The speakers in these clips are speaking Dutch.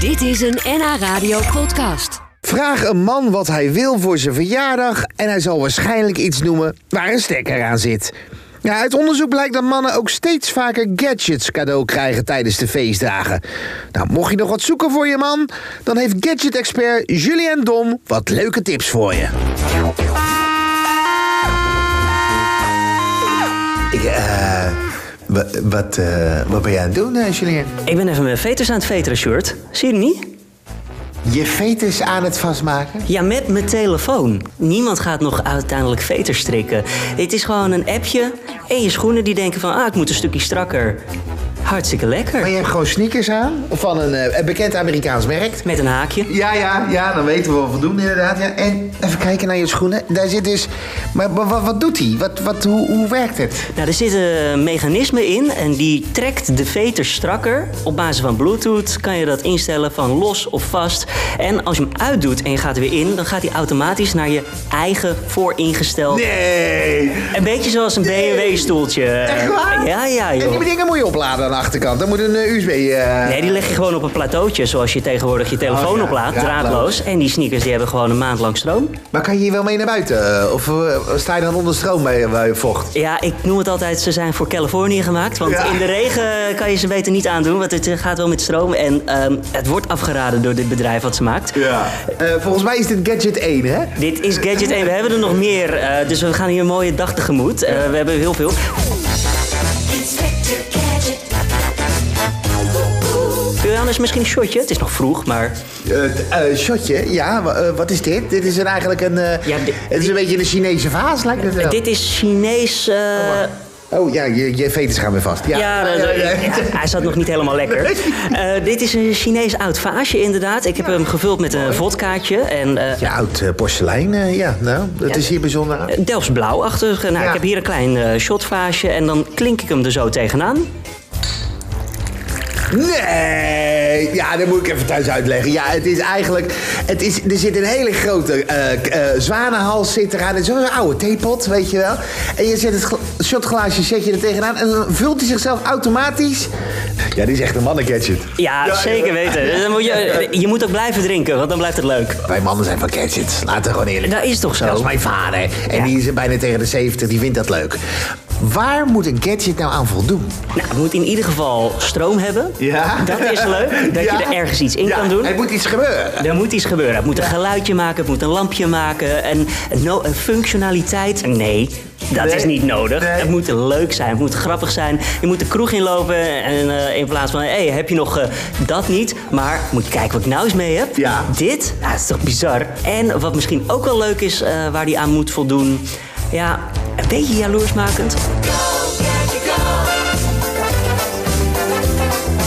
Dit is een NH Radio podcast. Vraag een man wat hij wil voor zijn verjaardag en hij zal waarschijnlijk iets noemen waar een stekker aan zit. Ja, uit onderzoek blijkt dat mannen ook steeds vaker gadgets cadeau krijgen tijdens de feestdagen. Nou, mocht je nog wat zoeken voor je man, dan heeft gadget-expert Julien Dom wat leuke tips voor je. Ik, eh, wa- wat, eh, wat ben jij aan het doen, eh, Julien? Ik ben even mijn veters aan het veteren, shirt. Zie je het niet? Je fetus aan het vastmaken? Ja, met mijn telefoon. Niemand gaat nog uiteindelijk veters strikken. Dit is gewoon een appje en je schoenen die denken van... ah, ik moet een stukje strakker. Hartstikke Maar lekker. je hebt gewoon sneakers aan van een, eh, een bekend Amerikaans merk. Met een haakje. Ja, ja, ja, dan weten we wel voldoende inderdaad. Ja. En even kijken naar je schoenen. Daar zit dus... Maar, maar wat, wat doet hij? Wat, wat, hoe, hoe werkt het? Nou, er zit een mechanisme in en die trekt de veters strakker. Op basis van Bluetooth kan je dat instellen van los of vast. En als je hem uitdoet en je gaat er weer in... dan gaat hij automatisch naar je eigen vooringestelde... Nee! Een beetje zoals een BMW-stoeltje. Echt waar? Ja, ja, En joh. die dingen moet je opladen aan de achterkant. Dan moet een eh, USB... eh, Nee, die leg je gewoon op een plateautje, zoals je tegenwoordig je telefoon Oh, ja, oplaadt, draadloos. draadloos. En die sneakers die hebben gewoon een maand lang stroom. Maar kan je hier wel mee naar buiten? eh, Of eh, sta je dan onder stroom bij, bij je vocht? Ja, ik noem het altijd, ze zijn voor Californië gemaakt. Want Ja. in de regen kan je ze beter niet aandoen, want het eh, gaat wel met stroom. En ehm, het wordt afgeraden door dit bedrijf wat ze maakt. Eh, volgens mij is dit gadget 1, hè? Dit is Gadget 1, we hebben er nog meer, eh, dus we gaan hier een mooie dag tegemoet. Eh, we hebben heel veel. Inspector Gadget. Ooh, ooh. Johannes, misschien een shotje? Het is nog vroeg, maar... Eh eh, shotje, ja, wa- eh, wat is dit? Dit is een, eigenlijk een. eh, Ja, di- het is een beetje een Chinese vaas, lijkt het wel. Dit is Chinees... eh, Oh ja, je, je veters gaan weer vast. Ja, Ja, dat- ja, ja. ja, hij zat nog niet helemaal lekker. Eh, dit is een Chinees oud vaasje, inderdaad. Ik heb hem gevuld met een vodkaatje en eh Ja, oud eh, porselein, eh, ja, nou, dat is hier bijzonder. aan. Delfts blauwachtig. Nou, Ja. Ik heb hier een klein eh, shotvaasje en dan klink ik hem er zo tegenaan. Eh. Nee! Ja, dat moet ik even thuis uitleggen. Ja, het is eigenlijk... Het is, er zit een hele grote eh, k- eh, zwanenhals zit eraan. Het is zo'n oude theepot, weet je wel. En je zet het gla- shotglaasje zet je er tegenaan en dan vult hij zichzelf automatisch. Ja, dit is echt een mannengadget. Ja, zeker weten. Dan moet je, eh, je moet ook blijven drinken, want dan blijft het leuk. Wij mannen zijn van gadgets. Laten we gewoon eerlijk Dat is toch zo? Dat is mijn vader. En die is bijna tegen de 70, die vindt dat leuk. Waar moet een gadget nou aan voldoen? Nou, het moet in ieder geval stroom hebben. Ja. Dat is leuk, dat Ja. je er ergens iets in Ja, kan doen. Er moet iets gebeuren. Er moet iets gebeuren. Het moet een geluidje maken, het moet een lampje maken. En no, een functionaliteit. Nee, dat Nee. is niet nodig. Nee. Het moet leuk zijn, het moet grappig zijn. Je moet de kroeg inlopen en eh, in plaats van... hé, hey, heb je nog eh, dat niet? Maar moet je kijken wat ik nou eens mee heb. Ja. Dit? Nou, dat is toch bizar? En wat misschien ook wel leuk is, eh, waar die aan moet voldoen... Ja, een beetje jaloersmakend.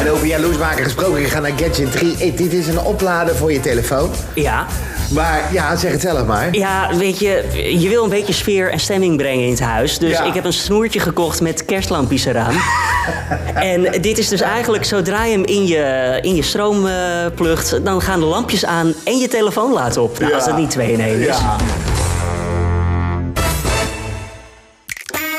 En over jaloersmaken gesproken, ik ga naar gadget 3. Eh, dit is een oplader voor je telefoon. Ja. Maar ja, zeg het zelf maar. Ja, weet je, je wil een beetje sfeer en stemming brengen in het huis. Dus Ja. ik heb een snoertje gekocht met kerstlampjes eraan. en dit is dus eigenlijk, zodra je hem in je, in je stroom eh, plugt... dan gaan de lampjes aan en je telefoon laat op. Nou, als dat niet twee in één is.